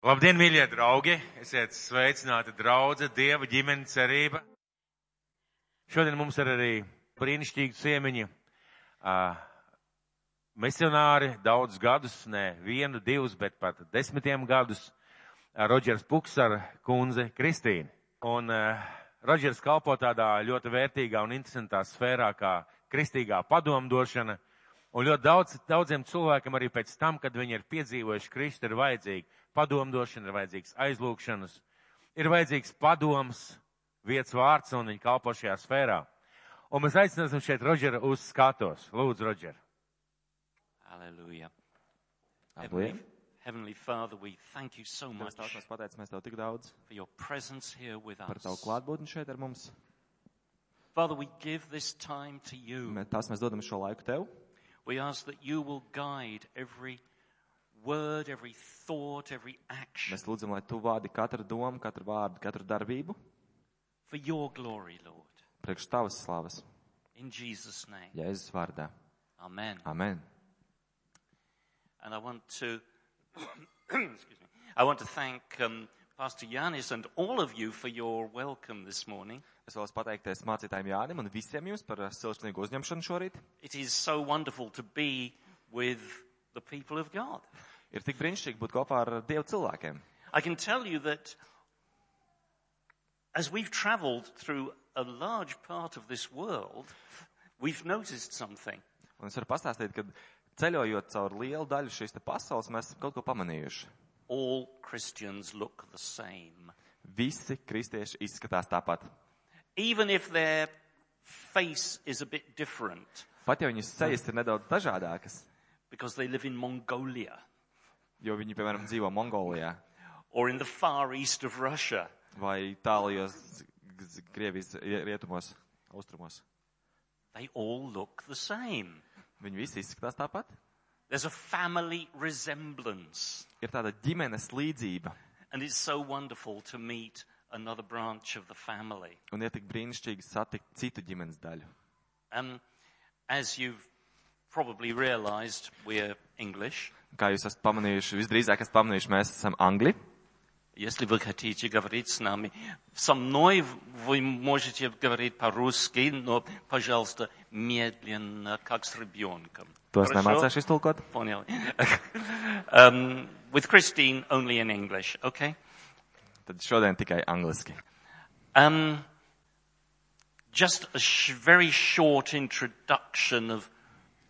Labdien, mīļie draugi! Esiet sveicināti, draugi, dieva ģimenes cerība. Šodien mums ir arī brīnišķīgi ciemiņi. Uh, misionāri daudz gadus, ne vienu, divus, bet pat desmitiem gadus. Uh, Rodžers Puks ar kundzi Kristīnu. Un uh, Rodžers kalpo tādā ļoti vērtīgā un interesantā sfērā kā kristīgā padomdošana. Un ļoti daudz, daudziem cilvēkiem arī pēc tam, kad viņi ir piedzīvojuši Kristu, ir vajadzīga padomdošana, ir vajadzīgs aizlūgšanas, ir vajadzīgs padoms, vietas vārds, un viņi kalpo šajā sfērā. Un mēs aicināsim šeit Rodžeru uz skatos. Lūdzu, Rodžer. Hallelujah. Hallelujah. Heavenly, Heavenly Father, we thank you so much Mēs tās mēs pateicamies tev tik daudz for your presence here with par tavu us. klātbūtni šeit ar mums. Father, we give this time to you. Mē- Tās mēs dodam šo laiku tev. We ask that you will guide every word, every thought, every action Mēs lūdzam, lai tu vādi katru domu, katru vārdu, katru darbību for your glory, Lord. priekš tavas slavas, In Jesus' name. Jēzus vārdā. Amen. Amen. And I want to, excuse me, I want to thank um, Pastor Yanis and all of you for your welcome this morning. Es vēlos pateikties mācītājiem Jānim un visiem jums par uh, silšņīgu uzņemšanu šorīt. It is so wonderful to be with the people of God. Ir tik brīnišķīgi būt kopā ar Dievu cilvēkiem. I can tell you that as we've traveled through a large part of this world, we've noticed something. Un es varu pastāstīt, ka ceļojot cauri lielu daļu šīs te pasaules, mēs esam kaut ko pamanījuši. All Christians look the same, Visi kristieši izskatās tāpat. even if their face is a bit different, Pat ja viņu sejas ir nedaudz dažādākas, because they live in Mongolia jo viņi, piemēram, dzīvo Mongolijā, or in the far east of Russia. vai tālajos z- Krievijas rie- rietumos, austrumos. They all look the same. Viņi visi izskatās tāpat. There's a family resemblance. Ir tāda ģimenes līdzība, And it's so wonderful to meet another branch of the family. un ir tik brīnišķīgi satikt citu ģimenes daļu. Um, as you've probably realized, we're English. Kā jūs esat pamanījuši, visdrīzāk esat pamanījuši, mēs esam Angļi. Если вы хотите говорить с нами, со мной вы можете говорить по-русски, но, пожалуйста, медленно, как с rебенком. To es Хорошо? nemācīšu iztulkot. Понял. um, with Christine, only in English, okay? Tad šodien tikai angliski. Um, just a sh- very short introduction of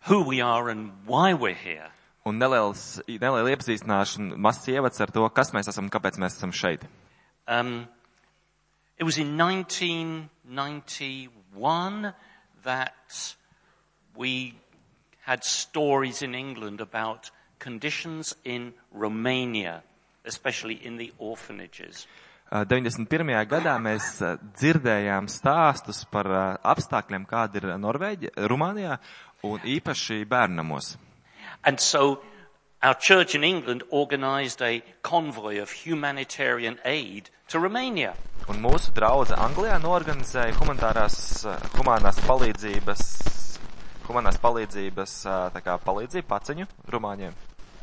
who we are and why we're here. Un neliels, neliela iepazīstināšana, mazs ievads ar to, kas mēs esam un kāpēc mēs esam šeit. Um, it was in 1991 that we had stories in England about conditions in Romania, especially in the orphanages. Uh, 91. gadā mēs uh, dzirdējām stāstus par uh, apstākļiem, kāda ir Norvēģija, Rumānijā un īpaši bērnamos. And so our church in England organized a convoy of humanitarian aid to Romania. Un mūsu draudzene Anglijā norganizēja humanitārās, uh, humanās palīdzības, humanās palīdzības uh, tā kā palīdzību paciņu Rumāņiem.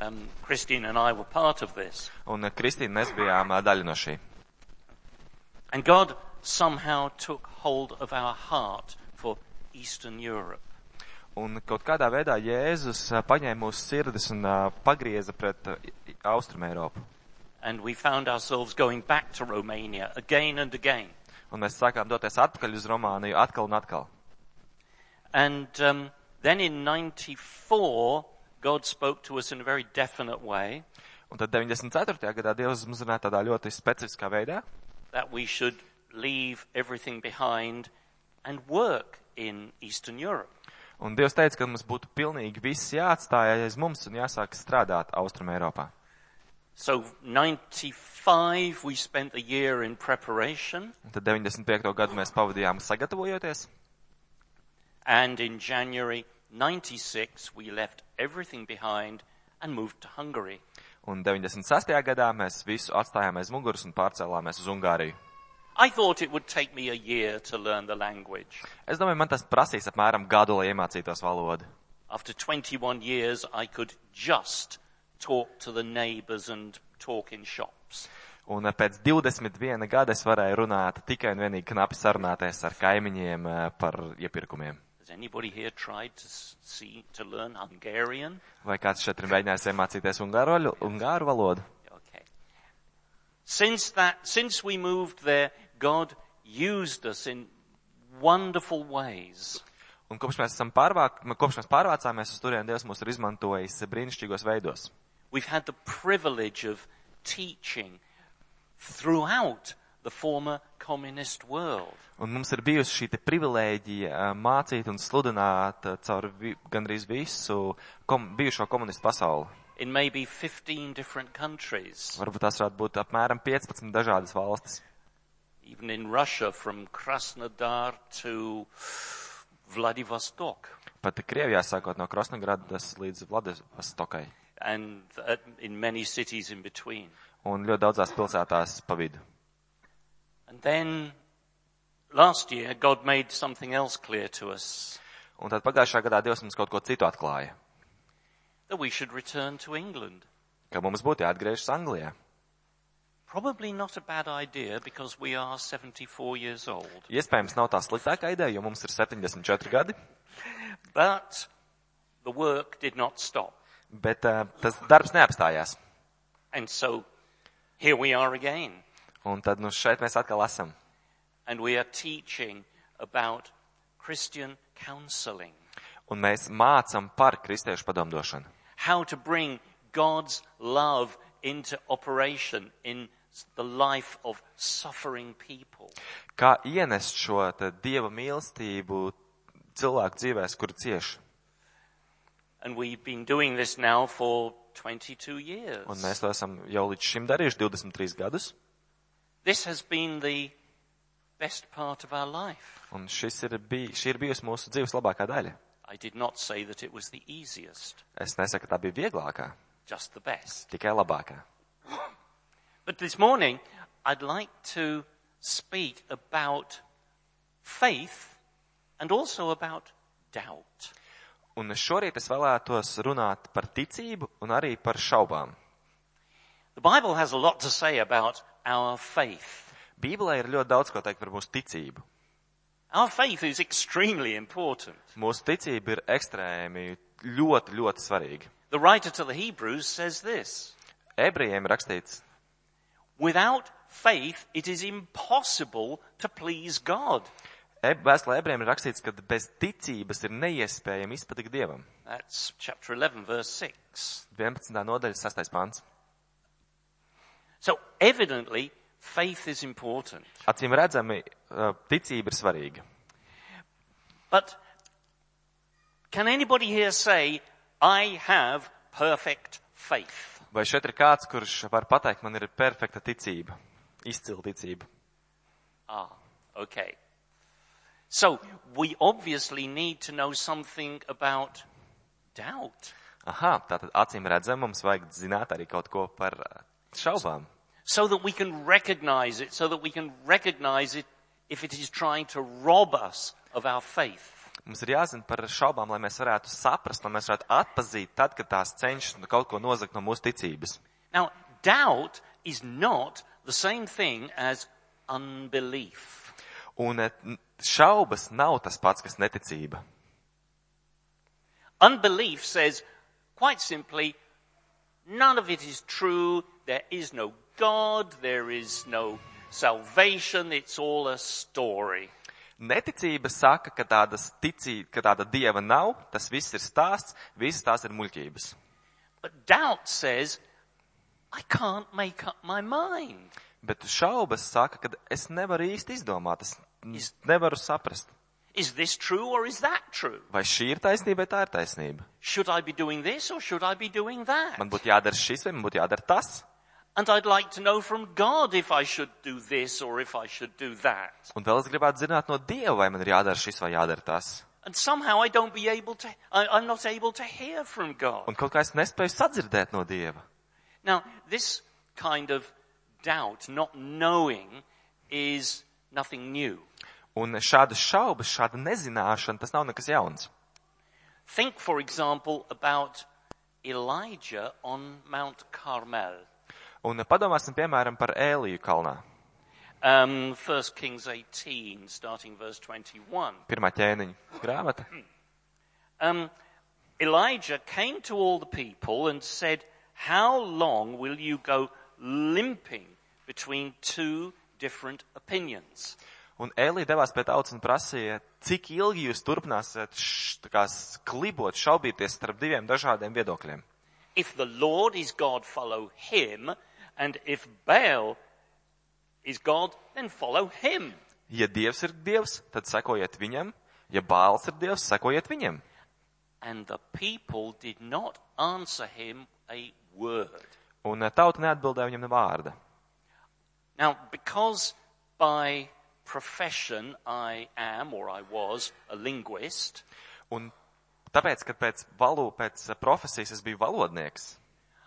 Um, Christine and I were part of this. Un uh, Kristīna, mēs bijām uh, daļa no šī. And God somehow took hold of our heart for Eastern Europe. Un kaut kādā veidā Jēzus uh, paņēma mūsu sirdis un uh, pagrieza pret uh, Austrum Eiropu. And we found ourselves going back to Romania again and again. Un mēs sākām doties atpakaļ uz Romāniju atkal un atkal. And um, then in 94, God spoke to us in a very definite way Un tad 94. gadā Dievs mums runāja tādā ļoti specifiskā veidā, that we should leave everything behind and work in Eastern Europe. un Dievs teica, ka mums būtu pilnīgi viss jāatstāj aiz mums un jāsāk strādāt Austrum Eiropā. So 95, we spent the year in preparation. Un tad 95. gadu mēs pavadījām sagatavojoties, And in January 96, we left everything behind and moved to Hungary. un 96. gadā mēs visu atstājām aiz muguras un pārcēlāmies uz Ungāriju. I thought it would take me a year to learn the language. Es domāju, man tas prasīs apmēram gadu, lai iemācītos valodu. After 21 years, I could just talk to the neighbors and talk in shops. Un eh, pēc 21 gada es varēju runāt tikai un vienīgi knapi sarunāties ar kaimiņiem eh, par iepirkumiem. Has anybody here tried to s- see, to learn Hungarian? Vai kāds šeit ir mēģinājis iemācīties ungāru, ungāru valodu? Okay. Since that, since we moved there, God used us in wonderful ways. Un kopš mēs, esam pārvāk, kopš mēs pārvācāmies uz turieni, Dievs mūs ir izmantojis brīnišķīgos veidos. We've had the privilege of teaching throughout the former communist world. Un mums ir bijusi šī te privilēģija eh, mācīt un sludināt eh, caur vi, gandrīz visu kom, bijušo komunistu pasauli. in maybe 15 different countries, Varbūt tās varētu būt apmēram 15 dažādas valstis. even in Russia, from Krasnodar to Vladivostok. Pat Krievijā sākot no Krasnogradas līdz Vladivostokai. And uh, in many cities in between. Un ļoti daudzās pilsētās pa vidu. And then last year, God made something else clear to us Un tad pagājušā gadā Dievs mums kaut ko citu atklāja, that we should return to England. ka mums būtu jāatgriežas Anglijā. Probably not a bad idea because we are 74 years old. Iespējams, nav tā sliktākā ideja, jo mums ir 74 gadi, But the work did not stop. bet uh, tas darbs neapstājās. And so here we are again. Un tad nu šeit mēs atkal esam. and we are teaching about Christian counseling, Un mēs mācam par kristiešu padomdošanu. how to bring God's love into operation in the life of suffering people. Kā ienest šo te dieva mīlestību cilvēku dzīvēs, kur cieši. And we've been doing this now for 22 years. Un mēs to esam jau līdz šim darījuši 23 gadus. This has been the best part of our life. Un šis ir bij, šī ir bijusi mūsu dzīves labākā daļa. I did not say that it was the easiest, Es nesaku, ka tā bija vieglākā, just the best. tikai labākā. But this morning, I'd like to speak about faith and also about doubt. Un šorīt es vēlētos runāt par ticību un arī par šaubām. The Bible has a lot to say about our faith. Bībelē ir ļoti daudz ko teikt par mūsu ticību. Our faith is extremely important. Mūsu ticība ir ekstrēmi ļoti, ļoti svarīga. The writer to the Hebrews says this Ebrejiem rakstīts, Without faith, it is impossible to please God. e- vēstulē ebrejiem ir rakstīts, ka bez ticības ir neiespējami izpatikt dievam. That's chapter 11, verse 6. 11. nodaļas 6. pāns. So, evidently, faith is important. Acīm redzami, eh, ticība ir svarīga. But can anybody here say, I have perfect faith? Vai šeit ir kāds, kurš var pateikt, man ir perfekta ticība, izcila ticība? Ah, okay. So we obviously need to know something about doubt. Aha, tātad acīm redzam, mums vajag zināt arī kaut ko par eh, šaubām. So that we can recognize it, so that we can recognize it if it is trying to rob us of our faith. Mums ir jāzina par šaubām, lai mēs varētu saprast, lai mēs varētu atpazīt tad, kad tās cenšas nu, kaut ko nozagt no mūsu ticības. Now, doubt is not the same thing as unbelief. Un eh, n- šaubas nav tas pats, kas neticība. Unbelief says, quite simply, none of it is true. There is no God. There is no salvation. It's all a story. Neticība saka, ka, tādas ticī, ka tāda dieva nav, tas viss ir stāsts, visas tās ir muļķības. But doubt says, I can't make up my mind. Bet šaubas saka, ka es nevaru īsti izdomāt, es n- nevaru saprast, Is this true or is that true? vai šī ir taisnība vai tā ir taisnība. Should I be doing this or should I be doing that? Man būtu jādara šis vai man būtu jādara tas, And I'd like to know from God if I should do this or if I should do that. un vēl es gribētu zināt no dieva, vai man ir jādara šis vai jādara tas. And somehow I don't be able to, I, I'm not able to hear from God. Un kaut kā es nespēju sadzirdēt no dieva. Now, this kind of doubt, not knowing, is nothing new. Un šāda šauba, šāda nezināšana, tas nav nekas jauns. Think, for example, about Elijah on Mount Carmel. Un eh, padomāsim, piemēram, par Ēliju kalnā. Um, 1 Kings 18, starting verse 21. Pirmā ķēniņa grāmata. Um, Elijah came to all the people and said, How long will you go limping between two different opinions? Un Ēlija devās pie tautas un prasīja, cik ilgi jūs turpināsiet š, tā kā klibot, šaubīties starp diviem dažādiem viedokļiem. If the Lord is God, follow him, and if Baal is God, then follow him. Ja Dievs ir Dievs, tad sekojiet viņam, ja Bāls ir Dievs, sekojiet viņam. And the people did not answer him a word. Un eh, tauta neatbildēja viņam ne vārda. Now, because by profession I am or I was a linguist, Un tāpēc, kad pēc valū, pēc eh, profesijas es biju valodnieks,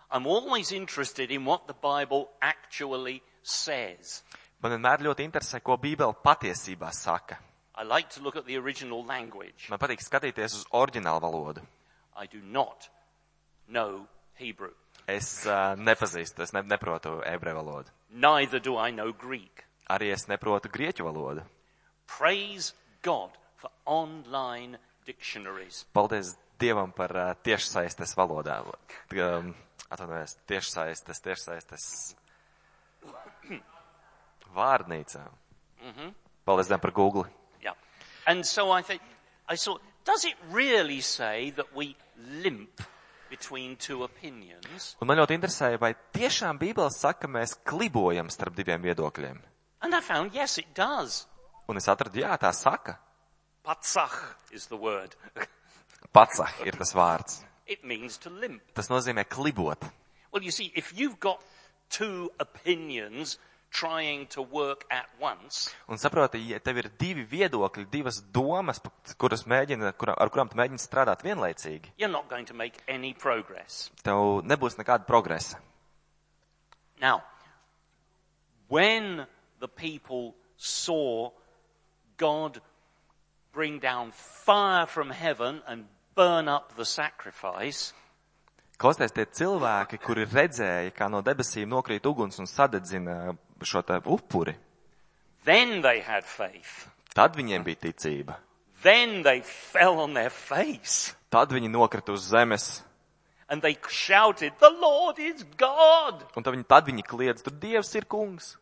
I'm always interested in what the Bible actually says. man vienmēr ļoti interesē, ko Bībele patiesībā saka. I like to look at the original language. Man patīk skatīties uz oriģinālu valodu. I do not know Hebrew. Es uh, nepazīstu, es ne, neprotu ebreju valodu. Neither do I know Greek. Arī es neprotu grieķu valodu. Praise God for online dictionaries. Paldies Dievam par uh, tiešsaistes valodā. Um, Atvainojos, tiešsaistes, tiešsaistes vārnīcā. Paldies Dievam par Google. Yeah. And so I think, I thought, does it really say that we limp between two opinions? Un man ļoti interesēja, vai tiešām Bībele saka, ka mēs klibojam starp diviem viedokļiem. And I found, yes, it does. Un es atradu, jā, tā saka. Patsach is the word. Pats ir tas vārds. it means to limp. Tas nozīmē klibot. Well, you see, if you've got two opinions trying to work at once, Un saproti, ja tev ir divi viedokļi, divas domas, pa- kuras mēģina, kura, ar kurām tu mēģini strādāt vienlaicīgi, you're not going to make any progress. tev nebūs nekāda progresa. Now, when the people saw God bring down fire from heaven and burn up the sacrifice, Klausies, tie cilvēki, kuri redzēja, kā no debesīm nokrīt uguns un sadedzina šo te upuri, then they had faith. tad viņiem bija ticība. Then they fell on their face Tad viņi nokrita uz zemes, and they shouted, The Lord is God! un tad viņi, tad viņi kliedz, tur Dievs ir kungs.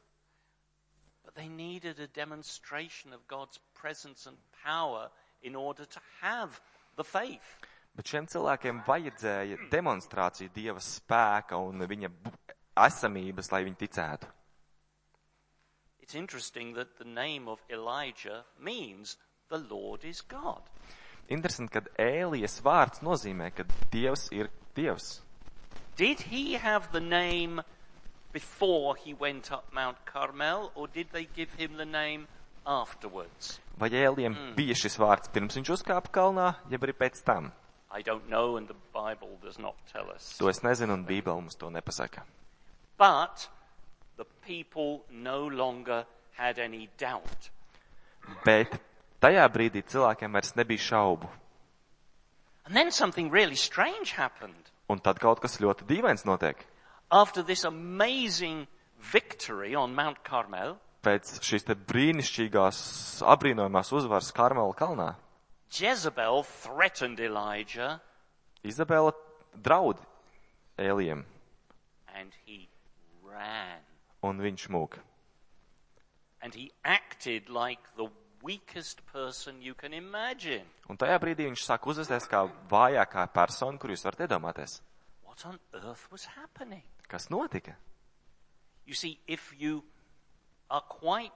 But they needed a demonstration of God's presence and power in order to have the faith. Bet šiem cilvēkiem vajadzēja demonstrāciju Dieva spēka un viņa bu- esamības, lai viņi ticētu. It's interesting that the name of Elijah means the Lord is God. Interesanti, ka ēlijas vārds nozīmē, ka Dievs ir Dievs. Did he have the name before he went up Mount Carmel, or did they give him the name afterwards? Vai ēlijam mm. bija šis vārds pirms viņš uzkāpa kalnā, jeb arī pēc tam? I don't know, and the Bible does not tell us. To es nezinu, un Bībele mums to nepasaka. But the people no longer had any doubt. Bet tajā brīdī cilvēkiem vairs nebija šaubu. And then something really strange happened. Un tad kaut kas ļoti dīvains notiek. After this amazing victory on Mount Carmel, Pēc šīs te brīnišķīgās, abrīnojamās uzvaras Karmela kalnā Jezebel threatened Elijah Izabela draud ēlijam, and he ran. un viņš mūk. And he acted like the weakest person you can imagine. Un tajā brīdī viņš sāk uzvesties kā vājākā persona, kur jūs varat iedomāties. What on earth was happening? Kas notika? You see, if you are quite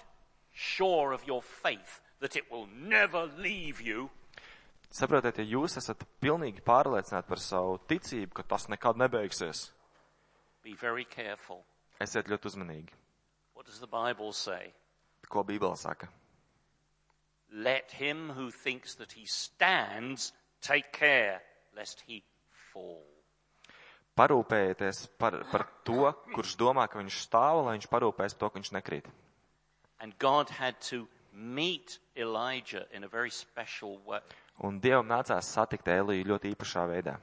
sure of your faith that it will never leave you, Saprotiet, ja jūs esat pilnīgi pārliecināti par savu ticību, ka tas nekad nebeigsies, be very careful. esiet ļoti uzmanīgi. What does the Bible say? Ko Bībele saka? Let him who thinks that he stands take care lest he fall. Parūpējieties par, par to, kurš domā, ka viņš stāv, lai viņš parūpēs par to, ka viņš nekrīt. And God had to meet Elijah in a very special way Un Dievam nācās satikt Eliju ļoti īpašā veidā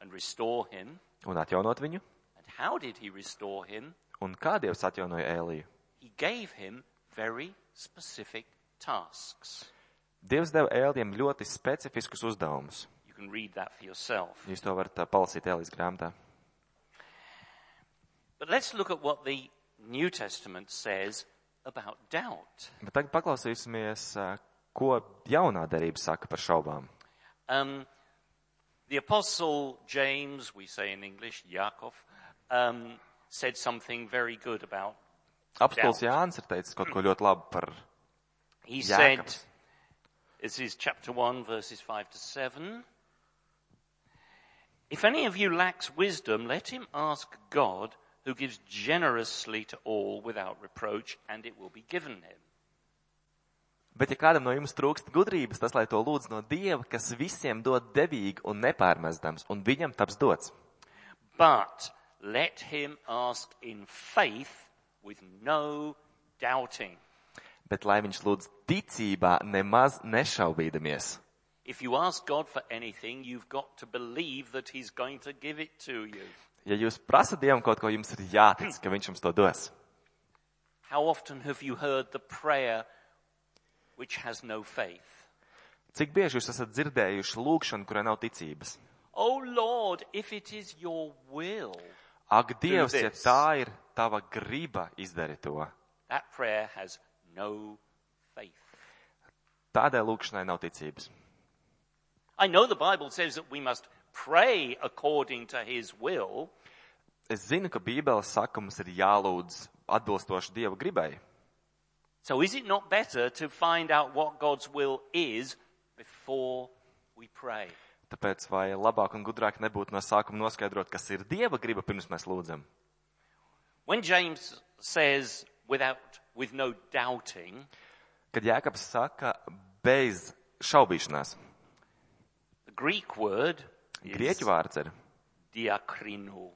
and restore him un atjaunot viņu and how did he restore him? Un kā Dievs atjaunoja Ēliju? He gave him very specific tasks. Dievs deva Ēlijam ļoti specifiskus uzdevumus. You can read that for yourself. Jūs to varat ā, palasīt Ēlijas grāmatā. But let's look at what the New Testament says about doubt. Bet tagad paklausīsimies, ā, ko jaunā darība saka par šaubām. Um, the Apostle James, we say in English, Yaakov, um, said something very good about. Apstults Jānis ir teicis kaut ko ļoti labu par He Jākabu. said, this is chapter 1, verses 5 to 7. If any of you lacks wisdom, let him ask God, who gives generously to all without reproach, and it will be given him. Bet, ja kādam no jums trūkst gudrības, tas lai to lūdz no Dieva, kas visiem dod devīgi un nepārmestams, un viņam taps dots. But let him ask in faith with no doubting. Bet lai viņš lūdz ticībā, nemaz nešaubīdamies. If you ask God for anything, you've got to believe that He's going to give it to you. Ja jūs prasat Dievam kaut ko, jums ir jātic, ka viņš jums to dos. How often have you heard the prayer which has no faith? Cik bieži jūs esat dzirdējuši lūgšanu, kurai nav ticības? Oh Lord, if it is your will, Ak, Dievs, ja this. tā ir tava griba, izdari to. that prayer has no faith. Tādai lūgšanai nav ticības. I know the Bible says that we must pray according to His will, Es zinu, ka Bībele saka, mums ir jālūdz atbilstoši Dieva gribai. So is it not better to find out what God's will is before we pray? Tāpēc vai labāk un gudrāk nebūtu no sākuma noskaidrot, kas ir Dieva griba, pirms mēs lūdzam? When James says without with no doubting, Kad Jēkabs saka bez šaubīšanās, the Greek word is grieķu vārds ir diakrino.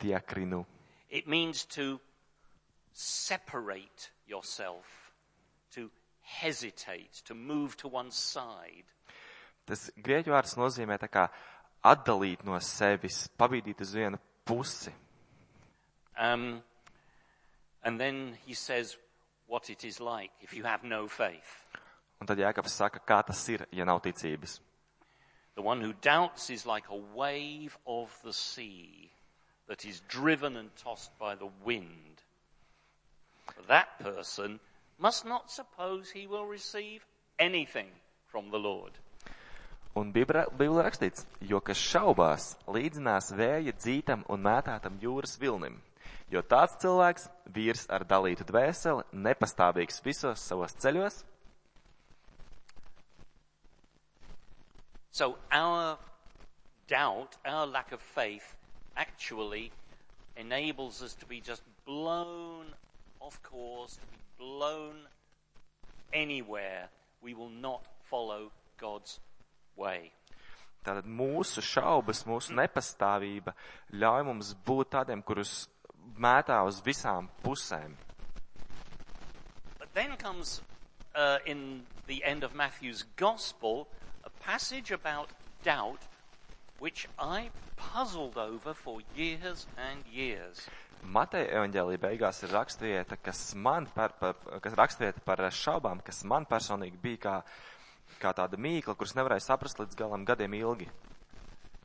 diakrinu. It means to separate yourself, to hesitate, to move to one side. Tas grieķu vārds nozīmē tā kā atdalīt no sevis, pabīdīt uz vienu pusi. Um, and then he says what it is like if you have no faith. Un tad Jēkabs saka, kā tas ir, ja nav ticības. The one who doubts is like a wave of the sea that is driven and tossed by the wind. That person must not suppose he will receive anything from the Lord. Un Bībelē rakstīts, jo kas šaubās, līdzinās vēja dzītam un mētātam jūras vilnim. Jo tāds cilvēks, vīrs ar dalītu dvēseli, nepastāvīgs visos savos ceļos, So our doubt, our lack of faith, actually enables us to be just blown off course, to be blown anywhere. We will not follow God's way. Tātad mūsu šaubas, mūsu nepastāvība ļauj mums būt tādiem, kurus mētā uz visām pusēm. But then comes uh, in the end of Matthew's Gospel a passage about doubt which I puzzled over for years and years. Mateja evaņģēlī beigās ir rakstvieta, kas man par, par, kas rakstvieta par šaubām, kas man personīgi bija kā, kā tāda mīkla, kuras nevarēja saprast līdz galam gadiem ilgi.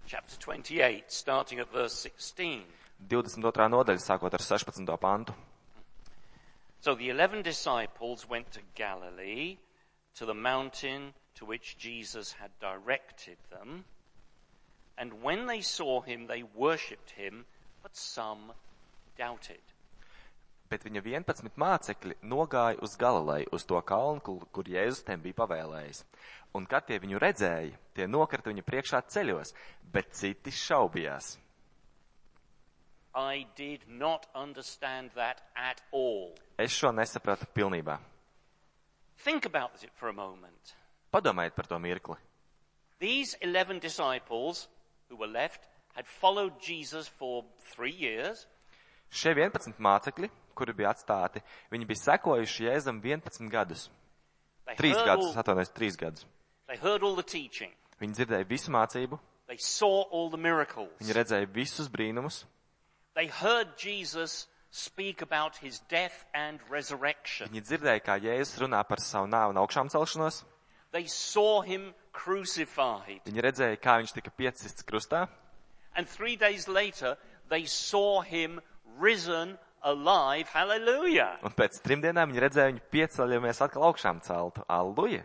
Chapter 28, starting at verse 16. 22. nodaļa sākot ar 16. pantu. So the eleven disciples went to Galilee, to the mountain to which Jesus had directed them. And when they saw him, they worshipped him, but some doubted. Bet viņa 11 mācekļi nogāja uz Galileju, uz to kalnu, kur- kur Jēzus tiem bija pavēlējis. Un kad tie viņu redzēja, tie nokrita viņa priekšā ceļos, bet citi šaubījās. I did not understand that at all. Es šo nesapratu pilnībā. Think about it for a moment. Padomājiet par to mirkli. These 11 disciples who were left had followed Jesus for three years. Šie 11 mācekļi, kuri bija atstāti, viņi bija sekojuši Jēzum 11 gadus. They 3 heard, gadus, all, atvainojos, 3 gadus. they heard all the teaching. Viņi dzirdēja visu mācību, They saw all the miracles. viņi redzēja visus brīnumus, They heard Jesus speak about his death and resurrection. Viņi dzirdēja, kā Jēzus runā par savu nāvu un augšām celšanos. They saw him crucified. Viņi redzēja, kā viņš tika piecists krustā. And three days later, they saw him risen alive. Hallelujah. Un pēc trim dienām viņi redzēja viņu pieceļamies atkal augšām celtu. Alluja!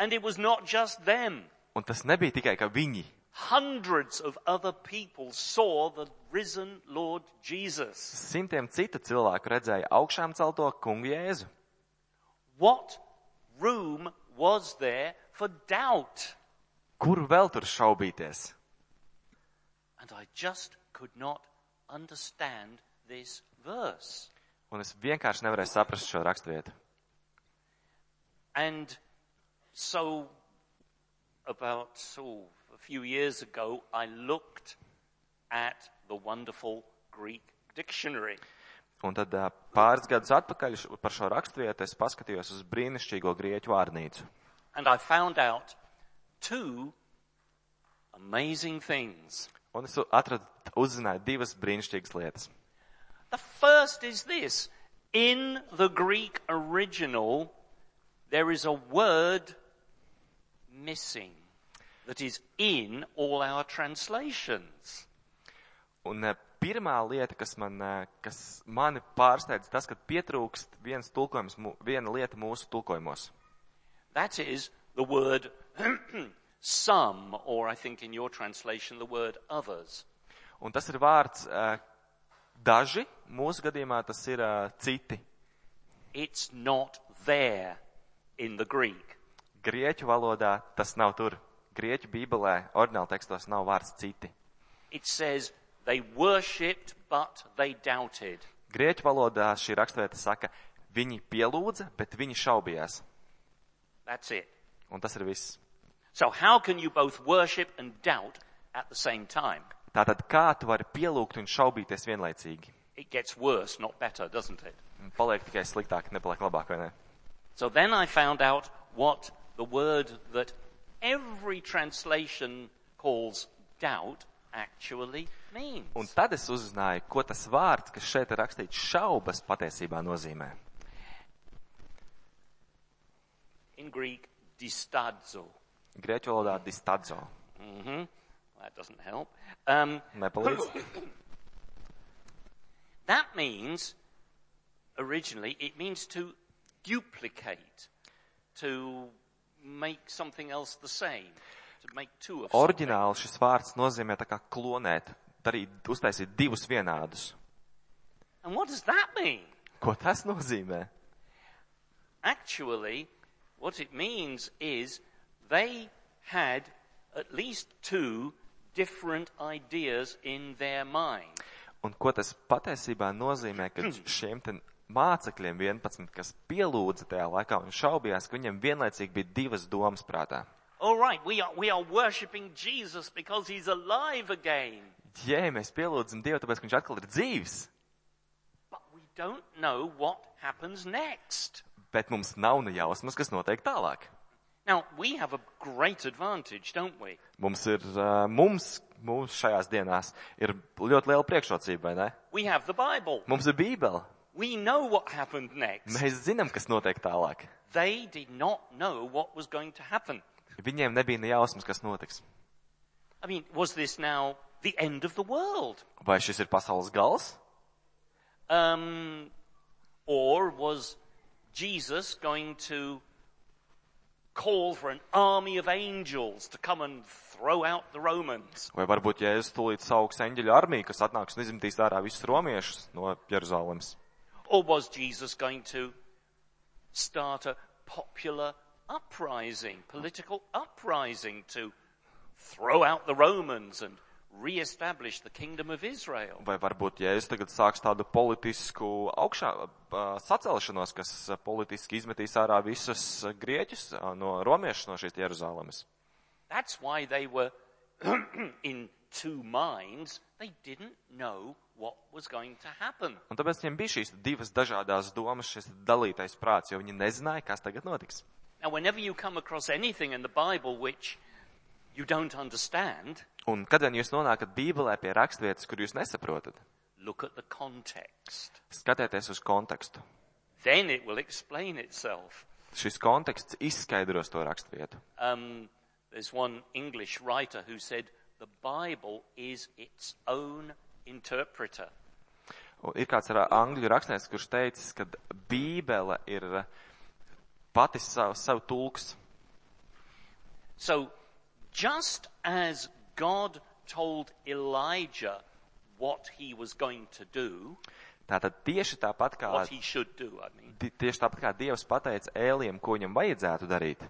And it was not just them. Un tas nebija tikai, ka viņi. Hundreds of other people saw the risen Lord Jesus. Simtiem citu cilvēku redzēja augšām celto kungu Jēzu. What room was there for doubt? Kur vēl tur šaubīties? And I just could not understand this verse. Un es vienkārši nevarēju saprast šo raksturvietu. And so, about oh, a few years ago, I looked at the wonderful Greek dictionary. Un tad ā, pāris gadus atpakaļ š- par šo raksturvietu es paskatījos uz brīnišķīgo grieķu vārnīcu. And I found out two amazing things. Un es atradu, uzzināju divas brīnišķīgas lietas. The first is this. In the Greek original, there is a word missing that is in all our translations. Un eh, pirmā lieta, kas, man, eh, kas mani pārsteidz, tas, ka pietrūkst viens tulkojums, mū- viena lieta mūsu tulkojumos. That is the word some, or I think in your translation, the word others. Un tas ir vārds eh, daži, mūsu gadījumā tas ir eh, citi. It's not there in the Greek. Grieķu valodā tas nav tur. Grieķu bībelē, oriģināla tekstos nav vārds citi. It says, they worshipped, but they doubted. Grieķu valodā šī raksturvieta saka, viņi pielūdza, bet viņi šaubījās. That's it. Un tas ir viss. So how can you both worship and doubt at the same time? Tātad, kā tu vari pielūgt un šaubīties vienlaicīgi? It gets worse, not better, doesn't it? Un Paliek tikai sliktāk, nepaliek labāk, vai ne? So then I found out what the word that every translation calls doubt actually means. Un tad es uzzināju, ko tas vārds, kas šeit ir rakstīts šaubas, patiesībā nozīmē. In Greek, distadzo. Grieķu valodā distadzo. hmm That doesn't help. Um, Nepalīdz. that means, originally, it means to duplicate, to make something else the same, to make two of something. Orģināli šis vārds nozīmē tā kā klonēt, darīt, uztaisīt divus vienādus. And what does that mean? Ko tas nozīmē? Actually, what it means is they had at least two different ideas in their mind. Un ko tas patiesībā nozīmē, ka šiem te mācekļiem 11, kas pielūdza tajā laikā un šaubījās, ka viņiem vienlaicīgi bija divas domas prātā. All right, we are, we are worshipping Jesus because he's alive again. Jē, mēs pielūdzam Dievu, tāpēc, ka viņš atkal ir dzīves, But we don't know what happens next. bet mums nav ne jausmas, kas notiek tālāk. Now, we have a great advantage, don't we? Mums ir, ā, mums, mums šajās dienās ir ļoti liela priekšrocība, vai ne? We have the Bible. Mums ir bībele. We know what happened next. Mēs zinām, kas notiek tālāk. They did not know what was going to happen. Viņiem nebija ne jausmas, kas notiks. I mean, was this now the end of the world? Vai šis ir pasaules gals? Um, or was Jesus going to call for an army of angels to come and throw out the Romans? Vai varbūt, ja es tūlīt sauks eņģeļu armiju, kas atnāks un izmitīs ārā visus romiešus no Jeruzalemes? Or was Jesus going to start a popular uprising, political uprising to throw out the Romans and re-establish the kingdom of Israel? Vai varbūt, ja es tagad sāks tādu politisku augšā ā, sacelšanos, kas ā, politiski izmetīs ārā visus ā, grieķus ā, no romiešus no šīs Jeruzalemes? That's why they were in two minds. They didn't know what was going to happen. Un tāpēc viņiem bija šīs divas dažādas domas, šis dalītais prāts, jo viņi nezināja, kas tagad notiks. Now, whenever you come across anything in the Bible which you don't understand, Un kad vien jūs nonākat Bībelē pie raksturvietas, kur jūs nesaprotat, Look at the context. Skatieties uz kontekstu. Then it will explain itself. Šis konteksts izskaidros to raksturvietu. Um, there's one English writer who said, The Bible is its own interpreter. Un Ir kāds ra- angļu rakstnieks, kurš teicis, ka Bībele ir eh, pati savu, savu tulks. So, just as God told Elijah what he was going to do, Tātad tieši tāpat kā, what he should do, I mean, ti- tieši tāpat kā Dievs pateica Ēliem, ko viņam vajadzētu darīt.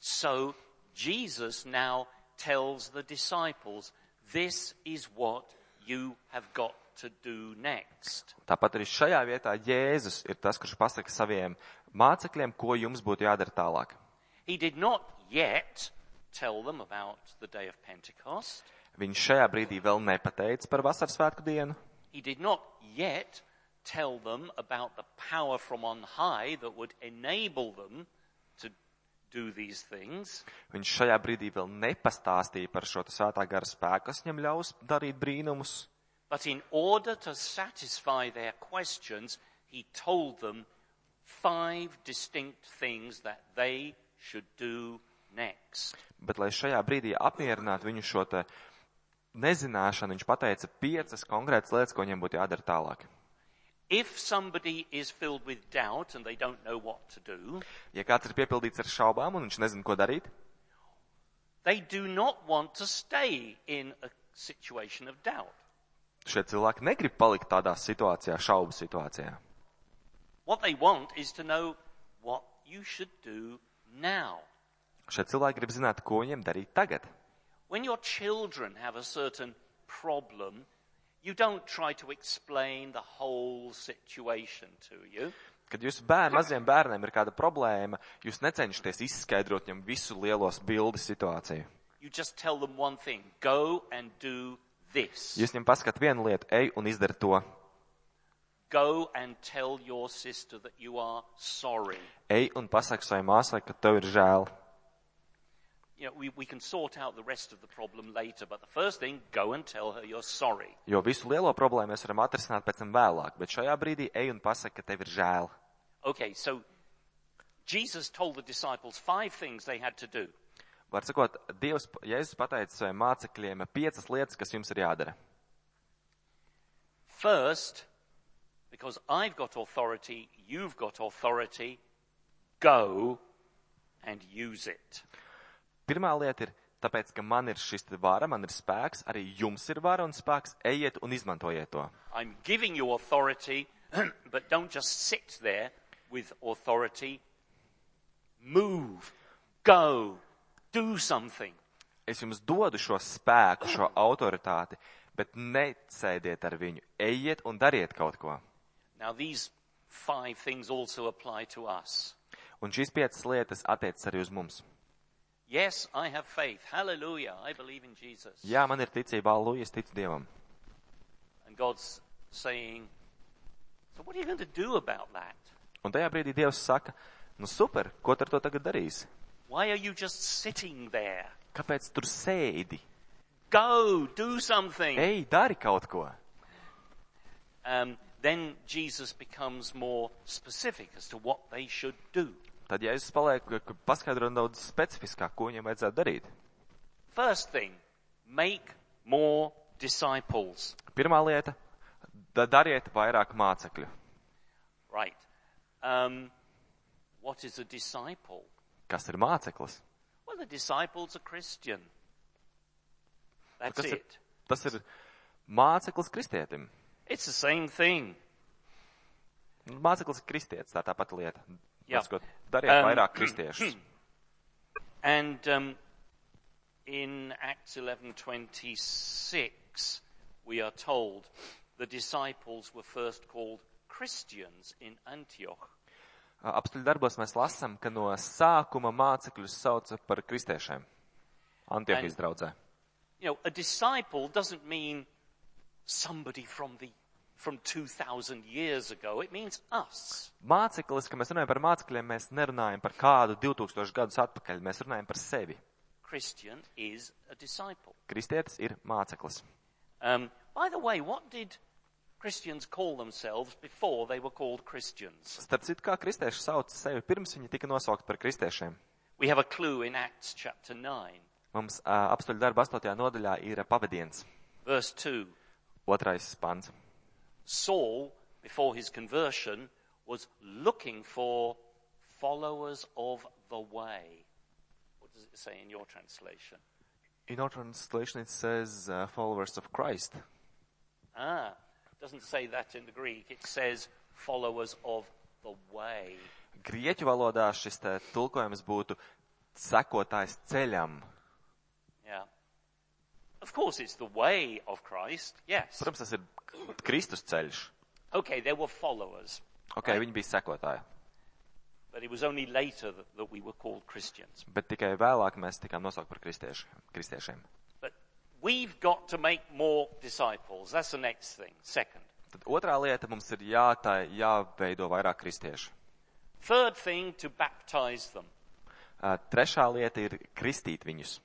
so Jesus now tells the disciples, This is what you have got to do next. Tāpat arī šajā vietā Jēzus ir tas, kurš pasaka saviem mācekļiem, ko jums būtu jādara tālāk. He did not yet tell them about the day of Pentecost. Viņš šajā brīdī vēl nepateica par vasaras svētku dienu. He did not yet tell them about the power from on high that would enable them to do these things. Viņš šajā brīdī vēl nepastāstīja par šo te svētā gara spēku, kas viņam ļaus darīt brīnumus. But in order to satisfy their questions, he told them five distinct things that they should do next. Bet, lai šajā brīdī apmierinātu viņu šo te nezināšanu, viņš pateica piecas konkrētas lietas, ko viņiem būtu jādara tālāk. If somebody is filled with doubt and they don't know what to do, Ja kāds ir piepildīts ar šaubām un viņš nezina, ko darīt, they do not want to stay in a situation of doubt. šie cilvēki negrib palikt tādā situācijā, šaubu situācijā. What they want is to know what you should do now. Šie cilvēki grib zināt, ko viņiem darīt tagad. When your children have a certain problem, you don't try to explain the whole situation to you. Kad jūsu bērnam, maziem bērniem ir kāda problēma, jūs necenšaties izskaidrot viņam visu lielos bildi situāciju. You just tell them one thing go and do this. Jūs viņam pasakāt vienu lietu, ej un izdari to. Go and tell your sister that you are sorry. Ej un pasaki savai māsai, ka tev ir žēl. You know, we, we can sort out the rest of the problem later, but the first thing, go and tell her you're sorry. Jo visu lielo problēmu mēs varam atrisināt pēc tam vēlāk, bet šajā brīdī ej un pasaki, ka tev ir žēl. Okay, so Jesus told the disciples five things they had to do. Var sakot, Dievs, Jēzus pateica saviem mācekļiem piecas lietas, kas jums ir jādara. First, because I've got authority, you've got authority, go and use it. Pirmā lieta ir, tāpēc, ka man ir šis te vara, man ir spēks, arī jums ir vara un spēks, ejiet un izmantojiet to. I'm giving you authority, but don't just sit there with authority. Move, go, do something. Es jums dodu šo spēku, šo autoritāti, bet necēdiet ar viņu, ejiet un dariet kaut ko. Now, these five things also apply to us. Un šīs piecas lietas attiecas arī uz mums. Yes, I have faith. Hallelujah. I believe in Jesus. Jā, man ir ticība, Lūija, es ticu Dievam. And God's saying, So, what are you going to do about that? Un tajā brīdī Dievs saka, nu super, ko tu ar to tagad darīsi? Why are you just sitting there? Kāpēc tur sēdi? Go, do something. Ej, dari kaut ko. Um, then Jesus becomes more specific as to what they should do. Tad, ja es palieku, ka paskaidroju daudz specifiskāk, ko viņam vajadzētu darīt. First thing, make more disciples. Pirmā lieta - da- dariet vairāk mācekļu. Right. Um, what is a disciple? Kas ir māceklis? Well, a disciple's a Christian. That's Kas ir, it. tas ir māceklis kristietim. It's the same thing. Māceklis ir kristietis, tā tāpat lieta. Jā. Pasakot, Dariet Um, vairāk kristiešus. And um, in Acts 11:26, we are told the disciples were first called Christians in Antioch. Apstuļu darbos mēs lasām, ka no sākuma mācekļus sauca par kristiešiem. Antiohijas draudzē. You know, a disciple doesn't mean somebody from the from 2,000 years ago. It means us. Māceklis, kad mēs runājam par mācekļiem, mēs nerunājam par kādu 2000 gadus atpakaļ, mēs runājam par sevi. Christian is a disciple. Kristietis ir māceklis. Um, by the way, what did Christians call themselves before they were called Christians. Starp citu, kā kristieši sauca sevi pirms viņi tika nosaukti par kristiešiem. We have a clue in Acts chapter 9, Mums ā, apstuļu darba 8. nodaļā ir pavadiens, verse 2. otrais pants. Saul, before his conversion, was looking for followers of the way. What does it say in your translation? In our translation it says uh, followers of Christ. Ah, it doesn't say that in the Greek. It says followers of the way. Grieķu valodā šis te tulkojums būtu sekotājs ceļam. Yeah. Of course, it's the way of Christ. Yes. Protams, tas ir Kristus ceļš. Okay, there were followers, Ok, viņi bija sekotāji, but it was only later that, that we were called Christians. bet tikai vēlāk mēs tikām nosaukt par kristieši, kristiešiem. But we've got to make more disciples. That's the next thing. Second. Tad otrā lieta mums ir jātai, jāveido vairāk kristiešu. Third thing, to baptize them. Ā, Trešā lieta ir kristīt viņus.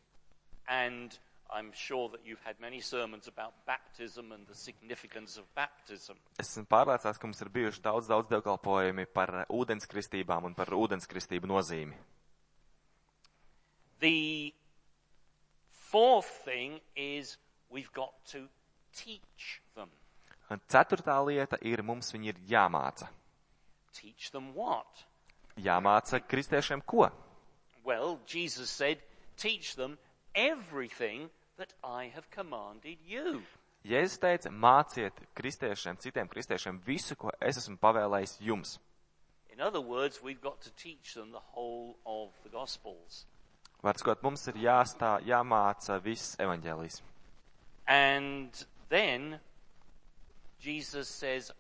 And I'm sure that you've had many sermons about baptism and the significance of baptism. Es esmu pārliecināts, ka mums ir bijuši daudz, daudz dievkalpojumi par ā, ūdenskristībām un par ūdenskristību nozīmi. The fourth thing is we've got to teach them. Un ceturtā lieta ir, mums viņi ir jāmāca. Teach them what? Jāmāca kristiešiem ko? Well, Jesus said, teach them everything that I have commanded you. Jēzus teica, māciet kristiešiem, citiem kristiešiem visu, ko es esmu pavēlējis jums. In other words, we've got to teach them the whole of the Gospels. Vārdsakot, mums ir jāstā, jāmāca viss evaņģēlijs. And then Jesus says,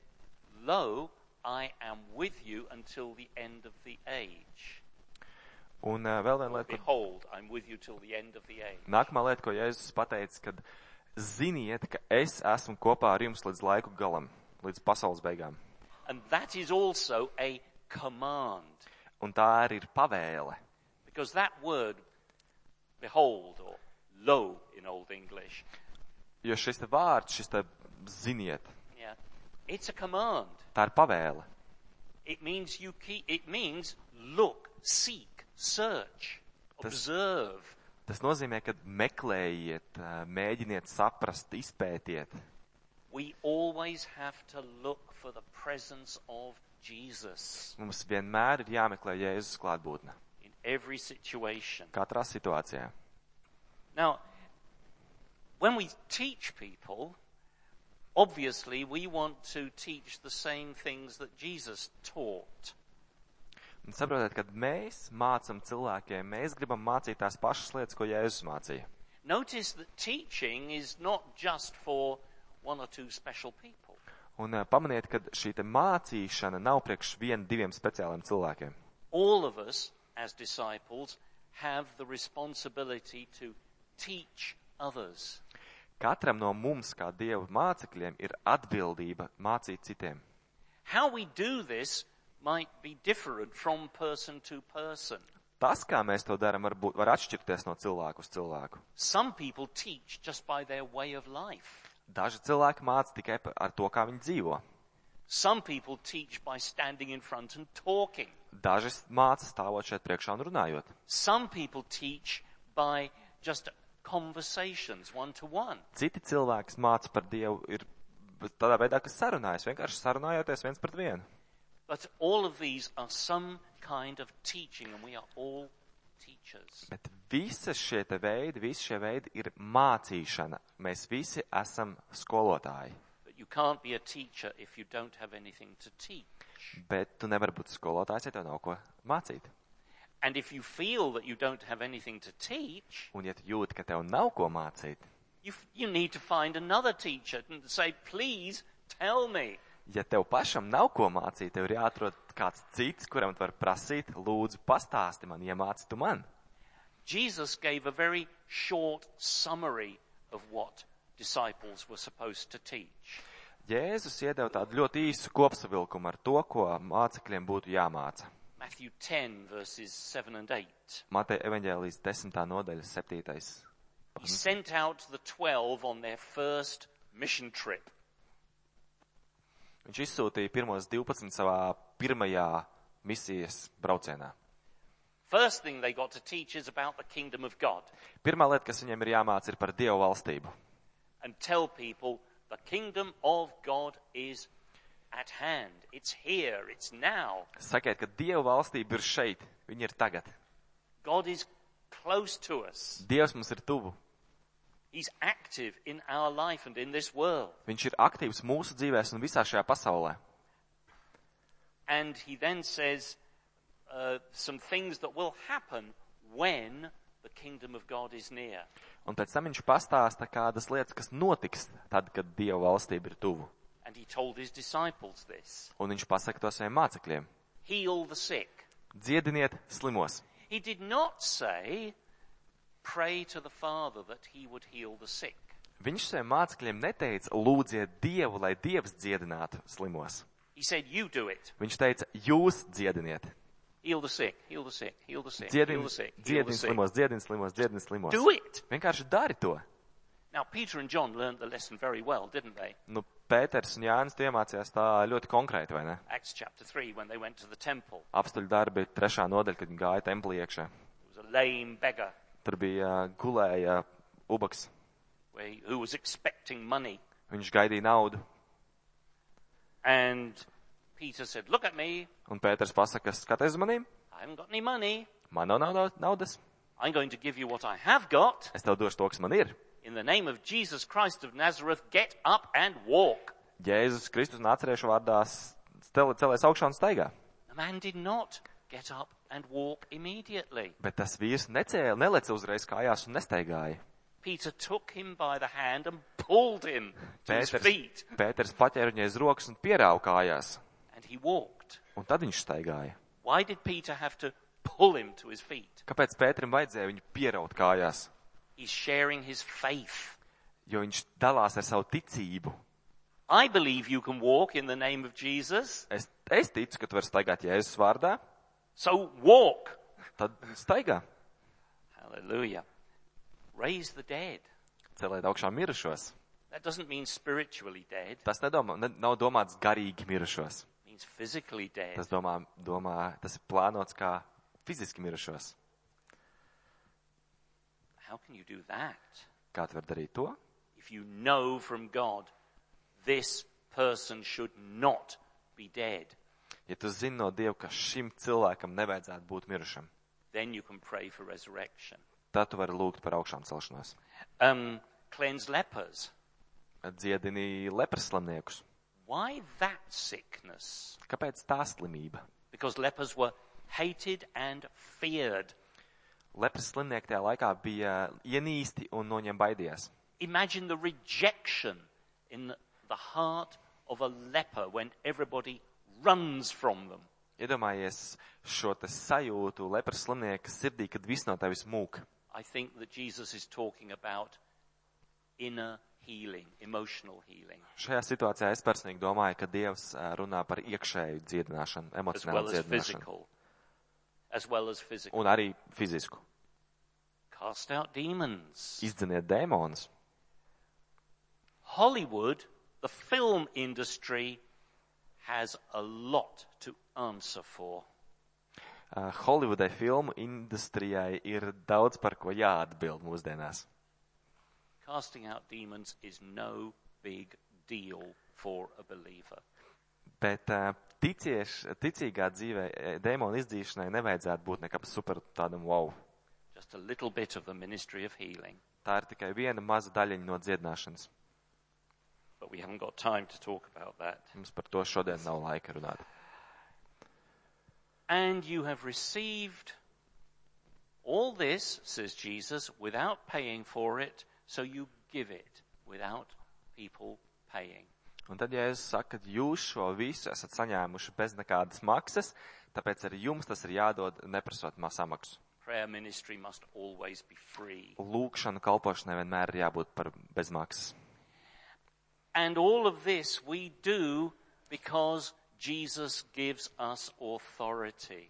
Lo, I am with you until the end of the age. Un ā, vēl viena lieta, Behold, I'm with you till the end of the age. ko, nākamā lieta, ko Jēzus pateica, kad ziniet, ka es esmu kopā ar jums līdz laiku galam, līdz pasaules beigām. And that is also a command, Un tā arī ir pavēle. because that word, behold, or lo in Old English, Jo šis te vārds, šis te ziniet, yeah, it's a command. tā ir pavēle. It means you keep, it means look, seek, search, Does- observe. Tas nozīmē, ka meklējiet, ā, mēģiniet saprast, izpētiet. We always have to look for the presence of Jesus Mums vienmēr ir jāmeklē Jēzus klātbūtne. in every situation. Katrā situācijā. Now, when we teach people, obviously we want to teach the same things that Jesus taught. Un saprotiet, kad mēs mācam cilvēkiem, mēs gribam mācīt tās pašas lietas, ko Jēzus mācīja. Notice that teaching is not just for one or two special people. Un ā, pamaniet, ka šī te mācīšana nav priekš vien diviem speciāliem cilvēkiem. All of us, as disciples, have the responsibility to teach others. Katram no mums, kā Dieva mācekļiem, ir atbildība mācīt citiem. How we do this might be different from person to person. Tas, kā mēs to darām, varbūt var atšķirties no cilvēku uz cilvēku. Some people teach just by their way of life. Daži cilvēki māca tikai pa- ar to, kā viņi dzīvo. Some people teach by standing in front and talking. Daži māca stāvot šeit priekšā un runājot. Some people teach by just conversations, one to one. Citi cilvēki māca par Dievu ir tādā veidā, ka sarunājas, vienkārši sarunājoties viens pret vienu. But all of these are some kind of teaching, and we are all teachers. Bet visas šie te veidi, visi šie veidi ir mācīšana. Mēs visi esam skolotāji. But you can't be a teacher if you don't have anything to teach. Bet tu nevari būt skolotājs, ja tev nav ko mācīt. And if you feel that you don't have anything to teach, Un ja tu jūti, ka tev nav ko mācīt, you, f- you need to find another teacher and say, please tell me. ja tev pašam nav ko mācīt, tev ir jāatrod kāds cits, kuram tu vari prasīt, lūdzu, pastāsti man, iemāci tu man. Jesus gave a very short summary of what disciples were supposed to teach. Jēzus iedeva tādu ļoti īsu kopsavilkumu ar to, ko mācekļiem būtu jāmāca. Matthew 10, verses 7 and 8. Mateja evaņģēlijas 10. nodaļa 7. He sent out the twelve on their first mission trip. Viņš izsūtīja pirmos 12 savā pirmajā misijas braucienā. First thing they got to teach is about the kingdom of God Pirmā lieta, kas viņiem ir jāmāca, ir par Dievu valstību. and tell people the kingdom of God is at hand. It's here, it's now. Sakiet, ka Dievu valstība ir šeit, viņa ir tagad. God is close to us. Dievs mums ir tuvu. He's active in our life and in this world. Viņš ir aktīvs mūsu dzīvēs un visā šajā pasaulē. And he then says uh, some things that will happen when the kingdom of God is near. Un pēc tam viņš pastāsta kādas lietas, kas notiks tad, kad Dieva valstība ir tuvu. And he told his disciples this Un viņš pasaka to saviem mācekļiem. heal the sick. Dziediniet slimos. He did not say, pray to the Father that he would heal the sick. Viņš saviem mācekļiem neteica, lūdziet Dievu, lai Dievs dziedinātu slimos. He said, you do it. Viņš teica, jūs dziediniet. Heal the sick, heal the sick, heal the sick, heal Dziedini, the sick, heal the dziedini sick. slimos, dziedini slimos, dziedini slimos. Do it. Vienkārši dari to. Now, Peter and John learned the lesson very well, didn't they? Nu, Pēters un Jānis tu iemācījās tā ļoti konkrēti, vai ne? Acts chapter 3, when they went to the temple. Apstuļu darbi trešā nodaļa, kad viņi gāja templī iekšā. There was a lame beggar Tur bija ā, gulēja ubaks. where he- who was expecting money. Viņš gaidīja naudu. And Peter said, Look at me. Un Pēters pasaka, skaties uz manīm. I haven't got any money. Man nav nauda, naudas. I'm going to give you what I have got. Es tev došu to, kas man ir. In the name of Jesus Christ of Nazareth, get up and walk. Jēzus Kristus nācerēšu vārdā s- stel- celēs augšā un staigā. The man did not get up and walk immediately. Bet tas vīrs necēla, neleca uzreiz kājās un nestaigāja. Peter took him by the hand and pulled him to his feet, Pēters, Pēters paķēra viņai aiz rokas un pierāva kājās. and he walked. Un tad viņš staigāja. Why did Peter have to pull him to his feet? Kāpēc Pēterim vajadzēja viņu pieraut kājās? He's sharing his faith. Jo viņš dalās ar savu ticību. I believe you can walk in the name of Jesus, Es, es ticu, ka tu vari staigāt Jēzus vārdā, so walk. tad staigā, Hallelujah. Raise the dead. celēt augšā mirušos. That doesn't mean spiritually dead. Tas nedomā, ne, nav domāts garīgi mirušos. It means physically dead. Tas, domā, domā, tas ir plānots kā fiziski mirušos. How can you do that Kā tu vari darīt to? if you know from God this person should not be dead? Ja tu zini no Dieva, ka šim cilvēkam nevajadzētu būt mirušam, Then you can pray for resurrection. tad tu vari lūgt par augšām celšanos. Um, cleanse lepers. Dziedini lepras slimniekus. Why that sickness? Kāpēc tā slimība? Because lepers were hated and feared. Lepras slimnieki tajā laikā bija uh, ienīsti un no viņiem baidījās. Imagine the rejection in the heart of a leper when everybody runs from them. Iedomājies šo te sajūtu lepras slimnieka sirdī, kad viss no tevis mūk. I think that Jesus is talking about inner healing, emotional healing, Šajā situācijā es personīgi domāju, ka Dievs ā, runā par iekšēju dziedināšanu, as emocionālu well as dziedināšanu physical. As well as physical. un arī fizisku. Cast out demons. Izdziniet dēmonus. Hollywood, the film industry, has a lot to answer for. Ā, Holivudai Uh, filmu industrijai ir daudz par ko jāatbild mūsdienās. Casting out demons is no big deal for a believer. Bet ā, ticieš, ticīgā dzīvē ē, dēmonu izdzīšanai nevajadzētu būt nekam super tādam wow. Just a little bit of the ministry of healing. Tā ir tikai viena maza daļiņa no dziedināšanas. But we haven't got time to talk about that. Mums par to šodien nav laika runāt. And you have received all this, says Jesus, without paying for it, so you give it without people paying. Un tad, ja es saku, ka jūs šo visu esat saņēmuši bez nekādas maksas, tāpēc arī jums tas ir jādod neprasot ma- samaksu. Prayer ministry must always be free. Lūkšana kalpošanai vienmēr ir jābūt par bezmaksas. And all of this we do because Jesus gives us authority,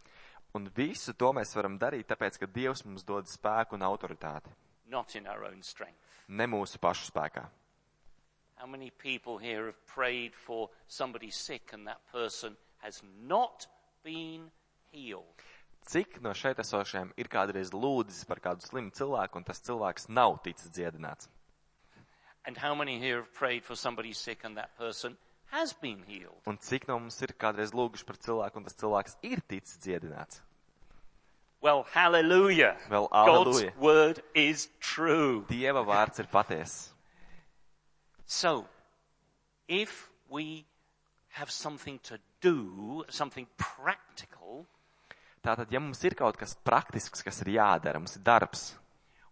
Un visu to mēs varam darīt, tāpēc, ka Dievs mums dod spēku un autoritāti. not in our own strength. Ne mūsu pašu spēkā. How many people here have prayed for somebody sick and that person has not been healed? Cik no šeit esošajiem ir kādreiz lūdzis par kādu slimu cilvēku, un tas cilvēks nav ticis dziedināts? And how many here have prayed for somebody sick and that person has been healed? Un cik no mums ir kādreiz lūguši par cilvēku, un tas cilvēks ir ticis dziedināts? Well, hallelujah. Well, hallelujah. God's word is true. Dieva vārds ir patiess. So, if we have something to do, something practical, Tātad, ja mums ir kaut kas praktisks, kas ir jādara, mums ir darbs,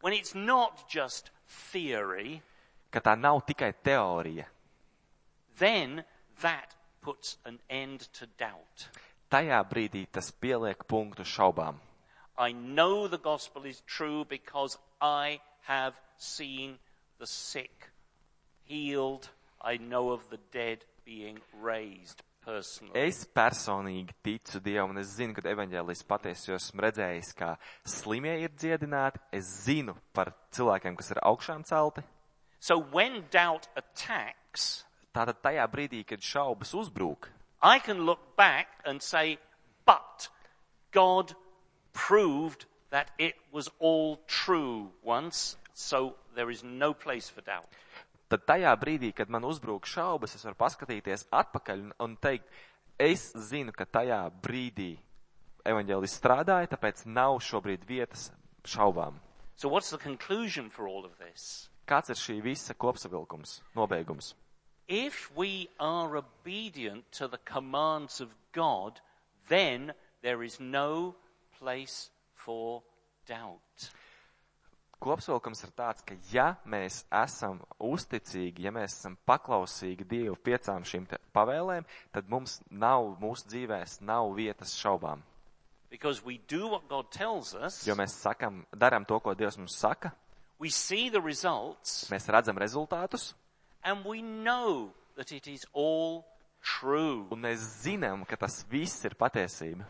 when it's not just theory, ka tā nav tikai teorija, then that puts an end to doubt. tajā brīdī tas pieliek punktu šaubām. I know the gospel is true because I have seen the sick healed. I know of the dead being raised personally. Es personīgi ticu Dievam, un es zinu, ka evaņģēlis patiesi, jo esmu redzējis, kā slimie ir dziedināti, es zinu par cilvēkiem, kas ir augšām celti. So when doubt attacks, Tātad tajā brīdī, kad šaubas uzbrūk, I can look back and say, but God proved that it was all true once, so there is no place for doubt. tad tajā brīdī, kad man uzbrūk šaubas, es varu paskatīties atpakaļ un, un teikt, es zinu, ka tajā brīdī evaņģēlis strādāja, tāpēc nav šobrīd vietas šaubām. So what's the conclusion for all of this? Kāds ir šī visa kopsavilkums, nobeigums? If we are obedient to the commands of God, then there is no place for doubt. Kopsavilkums ir tāds, ka ja mēs esam uzticīgi, ja mēs esam paklausīgi Dievu piecām šīm te pavēlēm, tad mums nav, mūsu dzīvēs nav vietas šaubām. Because we do what God tells us, Jo mēs sakam, darām to, ko Dievs mums saka, we see the results, mēs redzam rezultātus, and we know that it is all true. un mēs zinām, ka tas viss ir patiesība.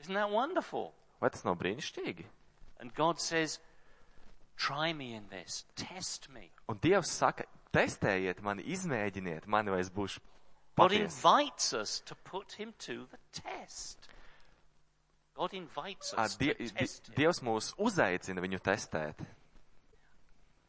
Isn't that wonderful? Vai tas nav brīnišķīgi? And God says, Try me in this, test me. Un Dievs saka, testējiet mani, izmēģiniet mani, vai es būšu God patiesa. invites us to put him to the test. God invites Ā, us Die, to die, test him. Dievs mūs uzaicina viņu testēt.